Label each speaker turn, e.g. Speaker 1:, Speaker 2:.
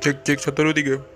Speaker 1: Чек, чек, что ты рудиги?